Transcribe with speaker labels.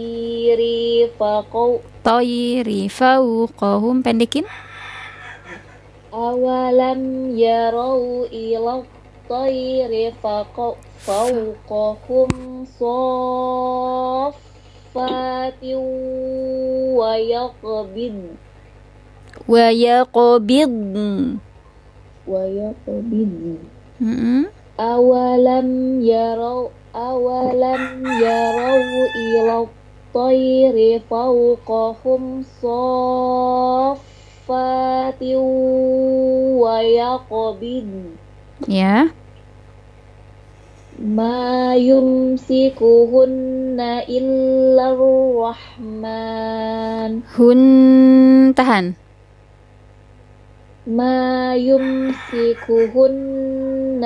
Speaker 1: toiri faqau
Speaker 2: Toyiri fauqahum pendekin
Speaker 1: awalam yarau ila toiri faqau fauqahum soffatin wa yaqbid
Speaker 2: wa yaqbidn
Speaker 1: wa yaqbid
Speaker 2: Mm-mm.
Speaker 1: awalam yarau awalam yarau ila toiri fauqahum soffatin wa yaqbid
Speaker 2: ya
Speaker 1: ما يمسكهن إلا الرحمن
Speaker 2: hun tahan
Speaker 1: ما يمسكهن